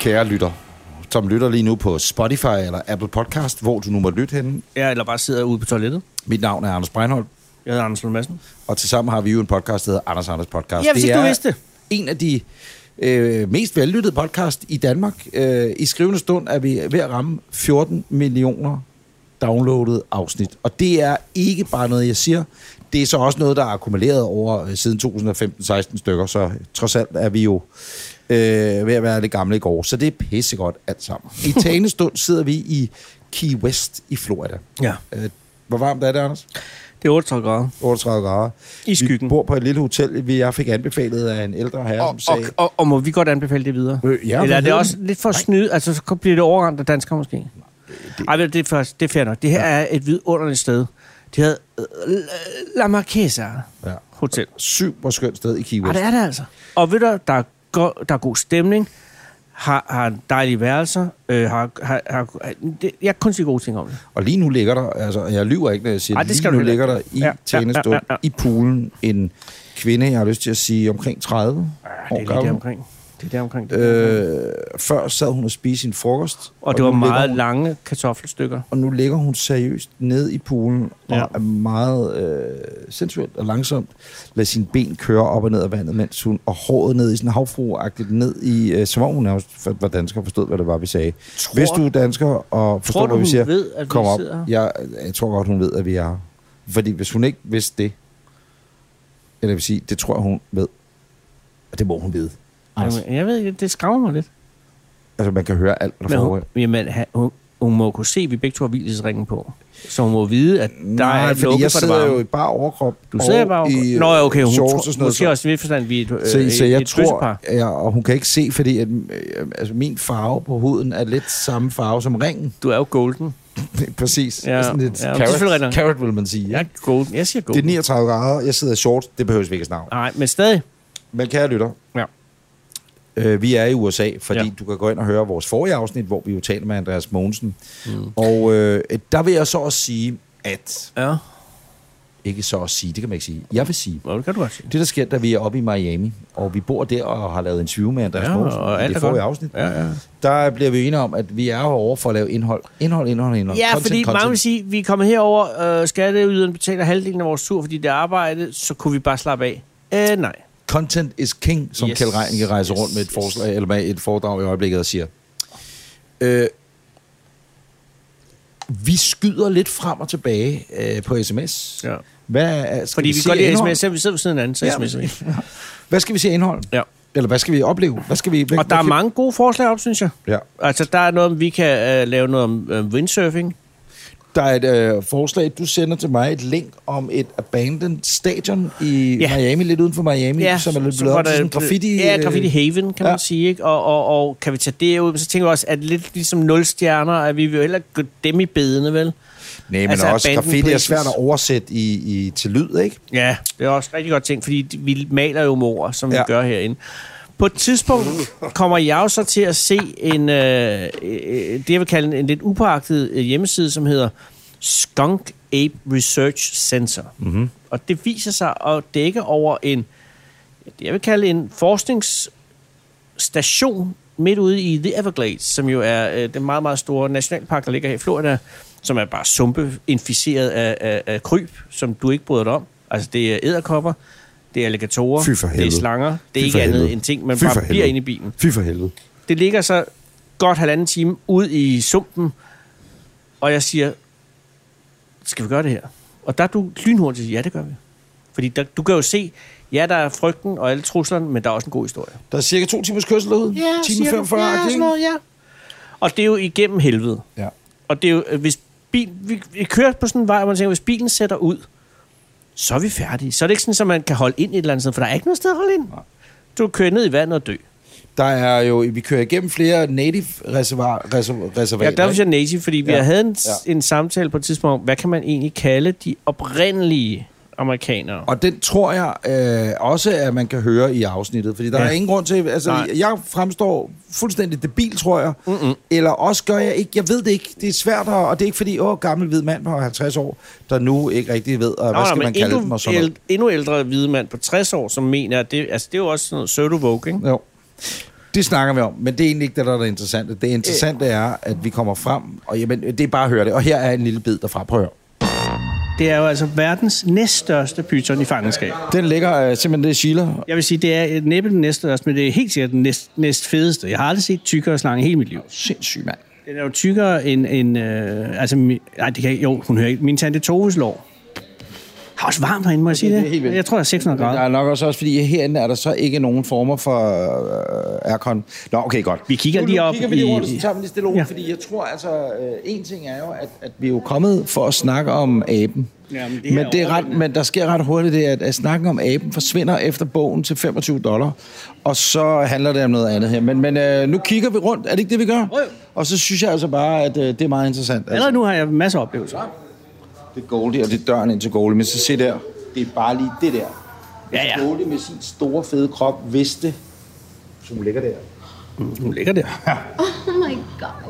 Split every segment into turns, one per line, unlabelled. kære lytter, som lytter lige nu på Spotify eller Apple Podcast, hvor du nu må lytte henne.
Ja, eller bare sidder ude på toilettet.
Mit navn er Anders Breinholt,
Jeg hedder Anders Lund Madsen.
og tilsammen har vi jo en podcast, der hedder Anders Anders Podcast.
Ja, hvis ikke
er
du vidste det.
en af de øh, mest vellyttede podcast i Danmark. Øh, I skrivende stund er vi ved at ramme 14 millioner downloadede afsnit. Og det er ikke bare noget, jeg siger. Det er så også noget, der er akkumuleret over øh, siden 2015-16 stykker, så trods alt er vi jo øh, ved at være lidt gamle i går. Så det er pissegodt alt sammen. I talende stund sidder vi i Key West i Florida.
Ja.
Øh, hvor varmt er det, Anders?
Det er 38 grader.
38 grader.
I skyggen.
Vi bor på et lille hotel, vi jeg fik anbefalet af en ældre herre,
Og,
som
og,
sagde...
og, og, må vi godt anbefale det videre?
Øh, ja,
eller er
hvad
det
hedder
også
den?
lidt for at snyde? Altså, så bliver det overrendt af danskere måske? Det... Ej, vel, det er, først, det er fair nok. Det her er et vidunderligt sted. Det hedder øh, La Marquesa
Ja.
Hotel.
Super skønt sted i Key
Og
West.
det er det altså. Og ved du, der er, go- der er god stemning, har, har dejlige værelser, øh, har, har, har, det, jeg kan kun sige gode ting om det.
Og lige nu ligger der, altså jeg lyver ikke, når jeg siger,
Ej,
Ej,
det
det
skal
lige
du
nu
heller
ligger der
ikke.
i
Ja, ja,
ja, tjenestund, ja, ja,
ja,
ja. i poolen, en kvinde, jeg har lyst til at sige, omkring 30
Ja,
år
Ah, det er lige
gammel.
der omkring. Det er der omkring. Det er deromkring.
Øh, før sad hun og spiste sin frokost.
Og det var
nu ligger
meget
hun,
lange kartoffelstykker.
Og nu ligger hun seriøst ned i poolen og
Ja.
er meget øh, sensuelt og langsomt. Lad sine ben køre op og ned af vandet, mens hun og håret ned i sådan havfruagtigt ned i, øh, som om hun nærmest for- var dansker og forstod, hvad det var, vi sagde. Tror, Hvis du er dansker og forstår,
Tror du,
hvad vi
hun
siger,
ved, at vi
Kom op.
sidder her?
Jeg, jeg tror godt, hun ved, at vi er her. Fordi hvis hun ikke vidste det, eller jeg vil sige, det tror jeg, hun ved. Og det må hun vide. Altså,
Jamen, jeg ved ikke, det skræmmer mig lidt.
altså man kan høre alt, hvad der
Men
foregår.
hun, jamen, ha- hun, hun må kunne se, at vi begge to har hvilesringen på. Så hun må vide, at der
Nej,
er
fordi
lukket
jeg
for det
sidder jo
varme.
i bare overkrop.
Du sidder
og
bare...
i, øh,
I, Nå, ja, okay, hun
shorts og
tror,
sådan noget.
måske også i forstand, at vi er et, øh,
så, så
et,
jeg
et
tror,
bøssepar.
ja, og hun kan ikke se, fordi at, øh, altså, min farve på huden er lidt samme farve som ringen.
Du er jo golden.
Præcis.
Ja,
sådan lidt
ja, det er selvfølgelig
carrot,
rigtigt.
carrot, vil man sige.
Jeg
Ja.
er golden. Jeg siger
Det er
golden.
39 grader, jeg sidder i shorts, det behøves vi ikke at snakke om.
Nej, men stadig.
Men kære lytter,
Ja.
øh, vi er i USA, fordi ja.
Ja.
du kan gå ind og høre vores forrige afsnit, hvor vi jo talte med Andreas Mogensen. Mm. Og øh, der vil jeg så også sige, at...
Ja,
Ikke så også sige, det kan man ikke sige. Jeg vil sige,
Nå, det kan du godt sige.
det der sker, da vi er oppe i Miami, og vi bor der og har lavet en interview med Andreas
Ja,
Mogensen,
og
i
alt
det
er
forrige
godt.
afsnit,
Ja, ja.
der bliver vi enige om, at vi er over for at lave indhold. Indhold, indhold, indhold.
Ja,
Content,
fordi
content.
mange vil sige, at vi er kommet herover, øh, skatteyderen betaler halvdelen af vores tur, fordi det er arbejde, så kunne vi bare slappe af. Øh, nej.
content is king, som yes.
Yes.
Kjell Reinicke rejser
Yes,
rundt med et,
yes.
forslag, eller med et foredrag i øjeblikket og siger. Øh, vi skyder lidt frem og tilbage øh, på sms.
Ja.
Hvad, er- skal
Fordi vi
se
går lige
indhold?
sms, vi sidder ved siden af hinanden, så
Ja,
sms'er vi.
Hvad skal vi se af indhold?
Ja.
Eller hvad skal vi opleve? Hvad skal vi, hvad,
Og der er
hvad,
mange gode forslag op, synes jeg.
Ja.
Altså, der er noget, om, vi kan øh, lave noget om øh, windsurfing.
Der er et øh, forslag, du sender til mig et link om et abandoned stadion i
Ja.
ja. Miami, lidt uden for Miami, ja, som er lidt
så
blevet
var
op til
der-
sådan en graffiti...
Ja,
øh,
graffiti haven, kan
ja.
ja. man sige. Ikke? Og, og, og kan vi tage det ud? Men så tænker vi også, at lidt ligesom nul stjerner, at vi vil jo heller ikke gå dem i bedene, vel?
Nej, men
altså
altså, også
abandoned
graffiti er
places.
svært at oversætte i, i, til lyd, ikke?
Ja, det er også rigtig godt ting, fordi de- vi maler jo med ord, som ja.
Ja.
vi gør herinde. På et tidspunkt kommer jeg jo så til at se en, øh, øh, det jeg vil kalde en, en lidt upåagtet øh, hjemmeside, som hedder Skunk Ape Research Center.
Mhm.
Mm-hmm. Og det viser sig at dække over en, det jeg vil kalde en forskningsstation midt ude i The Everglades, som jo er øh, den meget, meget store nationalpark, der ligger her i Florida, som er bare sumpe inficeret af, af, af kryb, som du ikke bryder dig om. Altså, det er æderkopper, det er alligatorer,
Fy for
det er
helvede.
slanger, det er
Fy for
ikke andet
helvede.
end ting, man
Fy for
bare bliver
helvede.
inde i bilen.
Fy for helvede.
Det ligger så godt halvanden time ud i sumpen, og jeg siger, skal vi gøre det her? Og der er du lynhurtigt, ja, det gør vi. Fordi der, du kan jo se, ja, der er frygten og alle truslerne, men der er også en god historie.
Der er cirka to timers kørsel derude. Time 45,
ja, sådan noget, ja. Og det er jo igennem helvede.
ja.
Og det er jo, øh, hvis bil, vi, vi kører på sådan en vej, hvor man tænker, hvis bilen sætter ud, så er vi færdige. Så er det ikke sådan, at man kan holde ind et eller andet sted, for der er ikke noget sted at holde ind. Du kører ned i vandet og dø.
Der er jo, vi kører igennem flere native reservar, reserv, reservater.
Ja, der synes jeg native, fordi vi
Ja.
havde en,
Ja.
ja. en samtale på et tidspunkt om, hvad kan man egentlig kalde de oprindelige amerikanere?
Og den tror jeg øh, også, at man kan høre i afsnittet. Fordi der ja.
Ja.
er ingen grund til... Altså,
Nej.
jeg fremstår fuldstændig debil, tror jeg. Mm-mm. Eller også gør jeg ikke... Jeg ved det ikke. Det er svært, at, og det er ikke fordi, åh, gammel hvid mand på 50 år, der nu ikke rigtig ved, og hvad skal man kalde
endnu,
dem og sådan noget.
el- endnu ældre hvide mand på 60 år, som mener, at det, altså, det er jo også sådan noget pseudo-vogue, ikke?
Jo. Det snakker vi om, men det er egentlig ikke det, der er det interessante. Det interessante
Øh.
er, at vi kommer frem, og jamen, det er bare at høre det. Og her er en lille bid derfra. Prøv at høre.
Det er jo altså verdens næststørste pyton i fangenskab.
Den ligger øh, simpelthen, det er Sheila.
Jeg vil sige, det er øh, næppe den næststørste, men det er helt sikkert den næst, næst fedeste. Jeg har aldrig set tykkere slange i hele mit liv.
Sindssyg mand.
Den er jo tykkere end... end øh, altså, mi- nej, det kan jeg, jo, hun hører ikke. Min tante Toves lår. Har også varmt herinde, må jeg sige
det er
det?
helt vildt.
Jeg tror, der er 600
Der
grader.
er nok også, også fordi herinde er der så ikke nogen former for øh, aircon. Nå, okay, godt.
Vi kigger
nu,
lige op
nu kigger vi lige
i-
rundt, så tager vi lige stille og roligt,
Ja.
fordi jeg tror altså, øh, en ting er jo, at, at vi er jo kommet for at snakke om aben.
Jamen, det her
men, det
er
er ret, men der sker ret hurtigt det, at, at snakken om aben forsvinder efter bogen til 25 dollar, og så handler det om noget andet her. Men, men øh, nu kigger vi rundt, er det ikke det, vi gør?
jo.
Og så synes jeg altså bare, at øh, det er meget interessant. Altså,
Allerede nu har jeg masser af oplevelser.
det er Goldie, og det er døren ind til Goldie, men så se der, det er bare lige det der.
Ja, ja.
Goldie med sin store, fede krop vidste, som ligger der.
Hun ligger der.
Oh my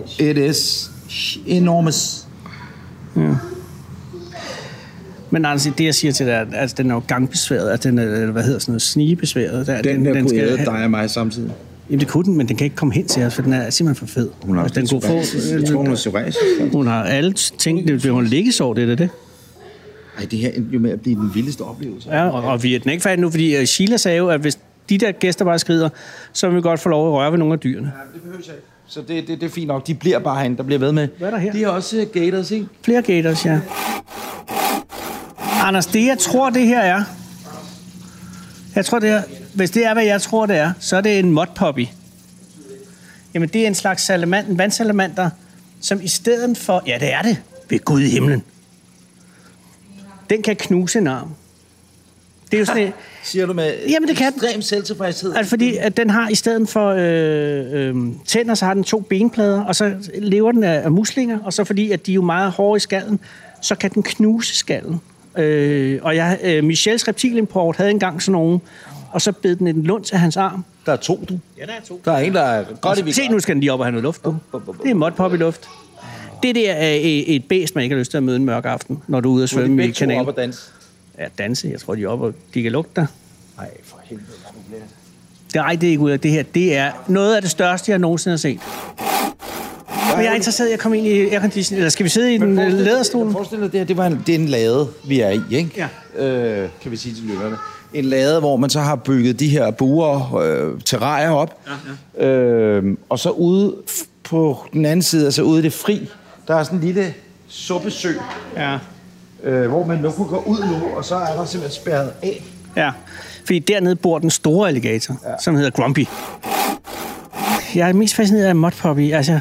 gosh.
It is enormous.
Men Anders, det jeg siger til dig, er, at altså, den er jo gangbesværet, at den er, eller hvad hedder sådan noget, snigebesværet. Der,
Den, den, den kunne æde
have-
dig og mig samtidig.
Jamen, det kunne den, men den kan ikke komme hen til os, for den er simpelthen for fed. Altså, den kunne
Jeg tror, hun er
få,
psoriasis.
hun har alle ting. Det bliver hun liggesår, det er det.
Ej, det her endte jo med at blive den vildeste oplevelse.
Ja, og, og vi er den ikke færdig nu, fordi øh, Sheila sagde jo, at hvis de der gæster bare skrider, så vil vi godt få lov at røre ved nogle af dyrene.
Det behøver jeg ikke. Så det, det, det er fint nok. De bliver bare herinde, der bliver ved med.
Hvad er der her?
De er også øh, gators, ikke?
Flere gators, ja. Anders, det jeg tror, det her er... Jeg tror, det er, hvis det er, hvad jeg tror, det er, så er det en modpoppy. Jamen, det er en slags salamand, en vandsalamander, som i stedet for... Ja, det er det. Ved Gud i himlen. Den kan knuse en arm. Det er jo sådan, et-
Siger du med
Jamen, det kan den.
ekstrem selvtilfredshed.
Altså fordi at den har i stedet for øh, øh, tænder, så har den to benplader, og så lever den af, af muslinger, og så fordi at de er jo meget hårde i skallen, så kan den knuse skallen. Øh, og jeg, øh, Michels reptilimport havde engang sådan nogen, og så bed den en lunds af hans arm.
Der er to, du.
Ja, der er to.
Der er en, der er godt i
Se, nu skal den lige op og have noget luft. Du. Det er modpop i luft. Det der er et et bæst, man ikke har lyst til at møde en mørk aften, når du er
Nu
ude og
er de
svømme i
begge to op
kanalen.
og danse.
Ja, danse. Jeg tror, de er oppe, og de kan lugte dig.
Nej, for helvede. hvor er du blæst.
Det er, ej, det er ikke ud af det her. Det er noget af det største, jeg nogensinde har set. Men jeg er interesseret i at komme ind i aircondition. Eller skal vi sidde i den øh, læderstol?
Forestil dig, det her, det, var en, det er en lade, vi er i, ikke? Ja. Øh, kan vi sige til lytterne. En lade, hvor man så har bygget de her buer, øh, terrarier op. Ja, ja. Øh, og så ude f- på den anden side, altså ude i det fri, der er sådan en lille suppesø,
Ja.
øh, hvor man nu kunne gå ud nu, og så er der simpelthen spærret af.
ja. Fordi dernede bor den store alligator, ja. som hedder Grumpy. Jeg er mest fascineret af modpoppy. Altså,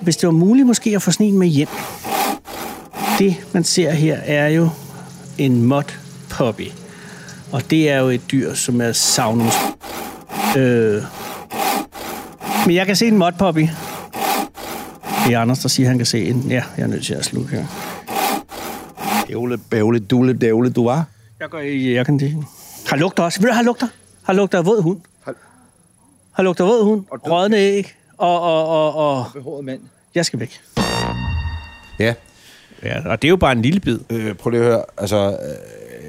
hvis det var muligt måske at få sådan en med hjem. Det, man ser her, er jo en modpoppy. Og det er jo et dyr, som er savnus. Øh. Men jeg kan se en modpoppy. Det er Anders, der siger, at han kan se en. Ja, jeg er nødt til at slukke her.
Ævle, bævle, dule, dævle, du var.
Jeg går i aircondition. Har lugter også. Ved du, har lugter? Har lugter af våd hund. Har lugter af våd hund, rådne æg, og, og, og, og
Behåret mand.
jeg skal væk.
Ja.
Ja, og det er jo bare en lille bid.
Øh, prøv lige at høre, altså,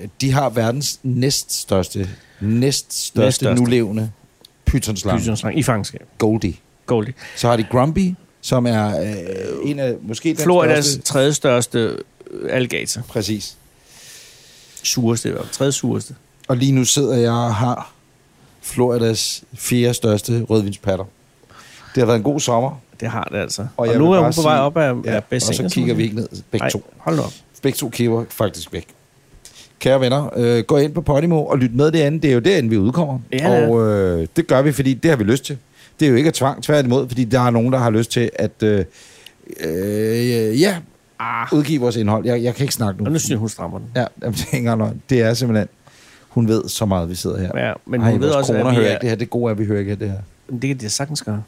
øh, de har verdens næststørste, næststørste,
Næststørste.
næststørste. nulevende pythonslange, Python.
Pythonslang i fangenskab.
Goldie.
Goldie.
Så har de Grumpy, som er øh, en af, måske den
Floridas
største.
tredje største øh, alligator.
Præcis.
Sureste i hvert fald. Tredje sureste.
Og lige nu sidder jeg og har Floridas fjerde største rødvinspatter. Det har været en god sommer.
Det har det altså. Og,
jeg
nu
vil
er
bare
hun på vej
sige-
op af,
ja,
af bassinet,
Og så
som
kigger
man
vi
siger.
ikke ned. Begge
Nej,
to.
hold da op.
Begge to kigger faktisk væk. Kære venner, øh, gå ind på Podimo og lyt med det andet. Det er jo derinde, vi udkommer.
Ja, det er.
og øh, det gør vi, fordi det har vi lyst til. Det er jo ikke af tvang, tværtimod, fordi der er nogen, der har lyst til at øh, øh, ja, udgive vores indhold. Jeg, jeg kan ikke snakke nu.
Ah. Og nu synes jeg, hun strammer den.
Ja, jamen, det er ikke engang løgn. Det er simpelthen... Hun ved så meget, vi sidder her.
Ja, men hun ved
vores
også, at
koner
vi
hører
er-
ikke det her. Det gode er, at vi hører ikke det her.
Men Det kan de sagtens gøre.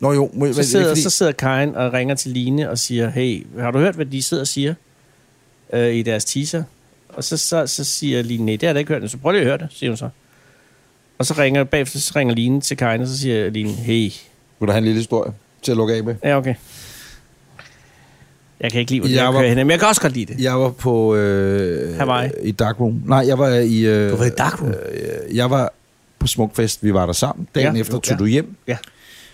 Nå jo, må,
Så sidder, så sidder Karen og ringer til Line og siger, hey, har du hørt, hvad de sidder og siger øh, i deres teaser? Og så, så, så siger Line, nej, det har jeg da ikke hørt, så prøv lige at høre det, siger hun så. Og så ringer, bagefter så ringer Line til Karen, og så siger Line, hey,
Vil du have en lille historie til at lukke af med?
ja okay. Jeg kan ikke lide, hvor det
Jeg
her
var-
kører hen, men jeg kan også godt lide det.
Jeg var på... Øh,
Hawaii.
I Darkroom. Nej, jeg var i... Øh,
Du var i Darkroom?
Øh, jeg var
på Smukfest. Vi var der sammen. Dagen
Ja,
ja, efter
jo,
tog
ja.
du hjem.
Ja.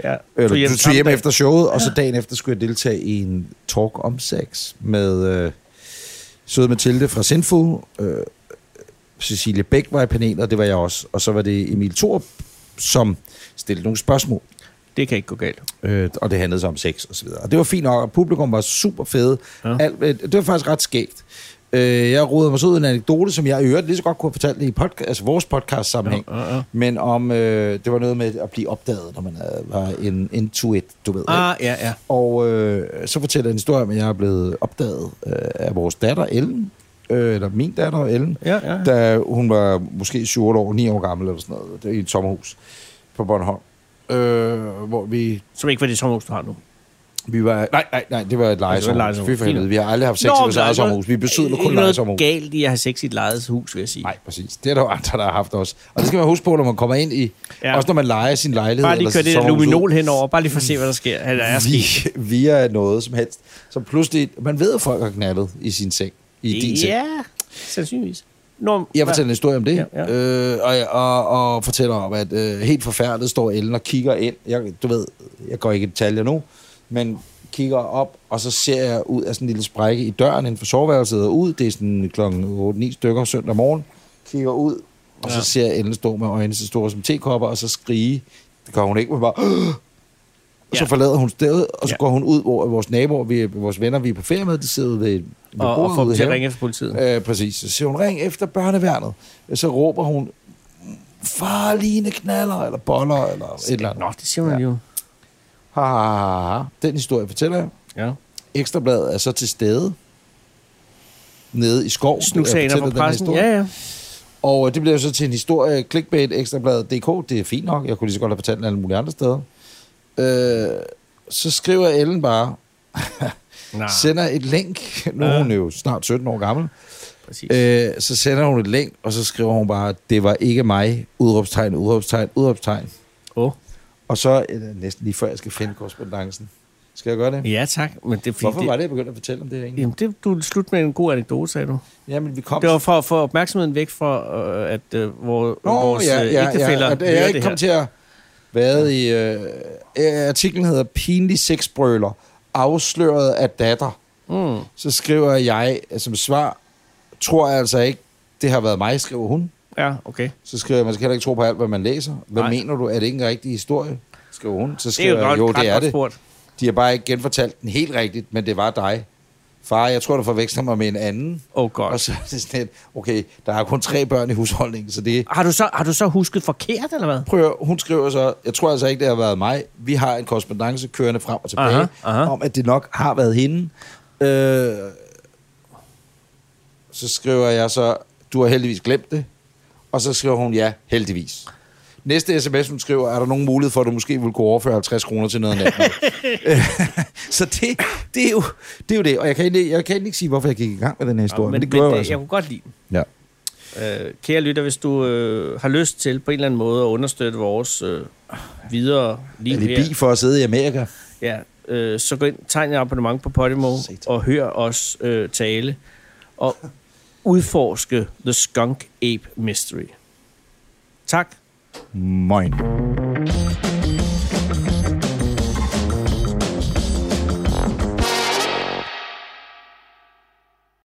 ja.
Eller,
Tog
du tog
samme
hjem
dag.
efter showet, og så dagen efter skulle jeg deltage i en talk om sex med øh, Søde Mathilde fra Sinful. Øh, Cecilie Bæk var i panelet, og det var jeg også. Og så var det Emil Thorup, som stillede nogle spørgsmål.
Det kan ikke gå galt.
Øh, og det handlede så om sex og så videre. Og det var fint nok, og publikum var super fede.
Ja.
Ja. Alt, øh, det var faktisk ret skægt. Øh, jeg rodede mig så ud i en anekdote, som jeg i øvrigt lige så godt kunne have fortalt i podca- altså vores podcast sammenhæng.
Ja, ja, ja.
Men om, øh, det var noget med at blive opdaget, når man øh, var en into it, du ved. ikke?
Ah, ja, ja.
Og øh, så fortæller jeg en historie om, at jeg er blevet opdaget øh, af vores datter Ellen, øh, eller min datter Ellen,
Ja, ja, ja.
da hun var måske 7 år, 9 år gammel eller sådan noget, det er i et sommerhus på Bornholm, øh, hvor vi
Som ikke var det sommerhus, du har nu.
vi var, nej, nej, nej, det var et lejesommerhus.
lejesommerhus.
Fy for helvede, vi har aldrig haft sex i vores
men
eget
altså,
sommerhus. Vi besøger
ikke
kun
noget
lejesommerhus.
galt i at have sex i et lejet hus, vil jeg sige.
Nej, præcis. Det er der jo andre, der har haft også. Og det skal man huske på, når man kommer ind i,
Ja.
ja. også når man leger sin lejlighed.
Bare lige
eller
køre
sit
det der
sommerhus ud.
luminol henover, bare lige for at se, hvad der sker. Eller er sket.
vi, via noget som helst. Så pludselig, man ved, at folk har knaldet i sin seng. I din seng.
Ja, sandsynligvis. Nå,
Jeg fortæller en historie om det,
Ja,
ja,
ja.
ja. Øh, og, og, og fortæller om, at øh, helt forfærdet står Ellen og kigger ind. Jeg, du ved, jeg går ikke i detaljer nu, men kigger op, og så ser jeg ud af sådan en lille sprække i døren inden for soveværelset og ud. Det er sådan klokken 8-9 stykker søndag morgen. Kigger ud, og ja.
Ja.
så ser jeg Ellen stå med øjnene så store som tekopper, og så skrige. Det gør hun ikke, men bare... "Åh!" Og så
Ja.
forlader hun stedet, og så
Ja.
ja. går hun ud, hvor vores naboer, vi, vores venner, vi er på ferie med, de sidder ved, ved
og, og
bordet
får
ude
dem
i
til at
haven.
ringe efter politiet.
Øh, præcis. Så siger hun, ring efter børneværnet. Så råber hun, farlige knaller, eller boller, eller et eller andet.
Nå, det siger man ja. jo.
Ha, ha, ha, ha. Den historie fortæller jeg.
Ja.
Ekstrabladet er så til stede nede i skoven.
Snuksaner
Jeg fortæller
fra
den her
pressen.
historie.
Ja, ja.
Og øh, det blev jo så til en historie, clickbait, ekstrabladet.dk, det er fint nok, jeg kunne lige så godt have fortalt den alle mulige andre steder. Øh, så skriver Ellen bare,
Nej,
sender et link, nu er hun jo snart 17 år gammel,
præcis.
Øh, så sender hun et link, og så skriver hun bare, det var ikke mig, udråbstegn, udråbstegn, udråbstegn.
Åh.
Og så, øh, næsten lige før jeg skal finde korrespondancen. Skal jeg gøre det?
Ja, tak. Men det, er fordi
Hvorfor
det,
var det, jeg begyndte at fortælle om det her egentlig?
Jamen, det, du slut med en god anekdote, sagde du.
Jamen, vi kom...
Det var for at få opmærksomheden væk fra, øh, at øh, vor,
Nå,
vores
ja,
øh,
ja,
ægtefæller
ja, ja. Jeg
hører
er ikke
det her.
kommet til at være i... Øh, øh, artiklen hedder Pinlig sexbrøler, afsløret af datter.
Mm.
Så skriver jeg øh, som svar, tror jeg altså ikke, det har været mig, skriver hun.
Ja, okay.
Så skriver jeg, man skal heller ikke tro på alt, hvad man læser. Hvad
Nej.
Nej. mener du? Er det ikke en rigtig historie? Skriver hun. Så
Det er jo,
skriver
godt,
jeg, jo, det er det.
Spurgt.
De har bare ikke genfortalt den helt rigtigt, men det var dig. Far, jeg tror, du forveksler mig med en anden.
Oh god.
Og så er det sådan et, okay, der er kun tre børn i husholdningen, så det...
Har du, så, har du så husket forkert, eller hvad?
Prøv at høre, hun skriver så, jeg tror altså ikke, det har været mig. Vi har en korrespondence kørende frem og tilbage,
Aha, aha.
om at det nok har været hende. Øh, så skriver jeg så, du har heldigvis glemt det. Og så skriver hun, ja, heldigvis. Næste sms, hun skriver, er der nogen mulighed for, at du måske vil kunne overføre 50 kroner til noget andet? så det, det, er jo, det er jo det. Og jeg kan, egentlig, jeg kan egentlig ikke sige, hvorfor jeg gik i gang med den her historie, ja, men, men det
men,
gjorde jeg jo
øh,
altså.
Jeg kunne godt lide den.
Ja.
Øh, kære lytter, hvis du øh, har lyst til på en eller anden måde at understøtte vores øh, videre liv
Er det bi for at sidde i Amerika?
ja, øh, så gå ind, tegn et abonnement på Podimo
Satan.
og hør os øh, tale og udforske The Skunk Ape Mystery. Tak.
Moin.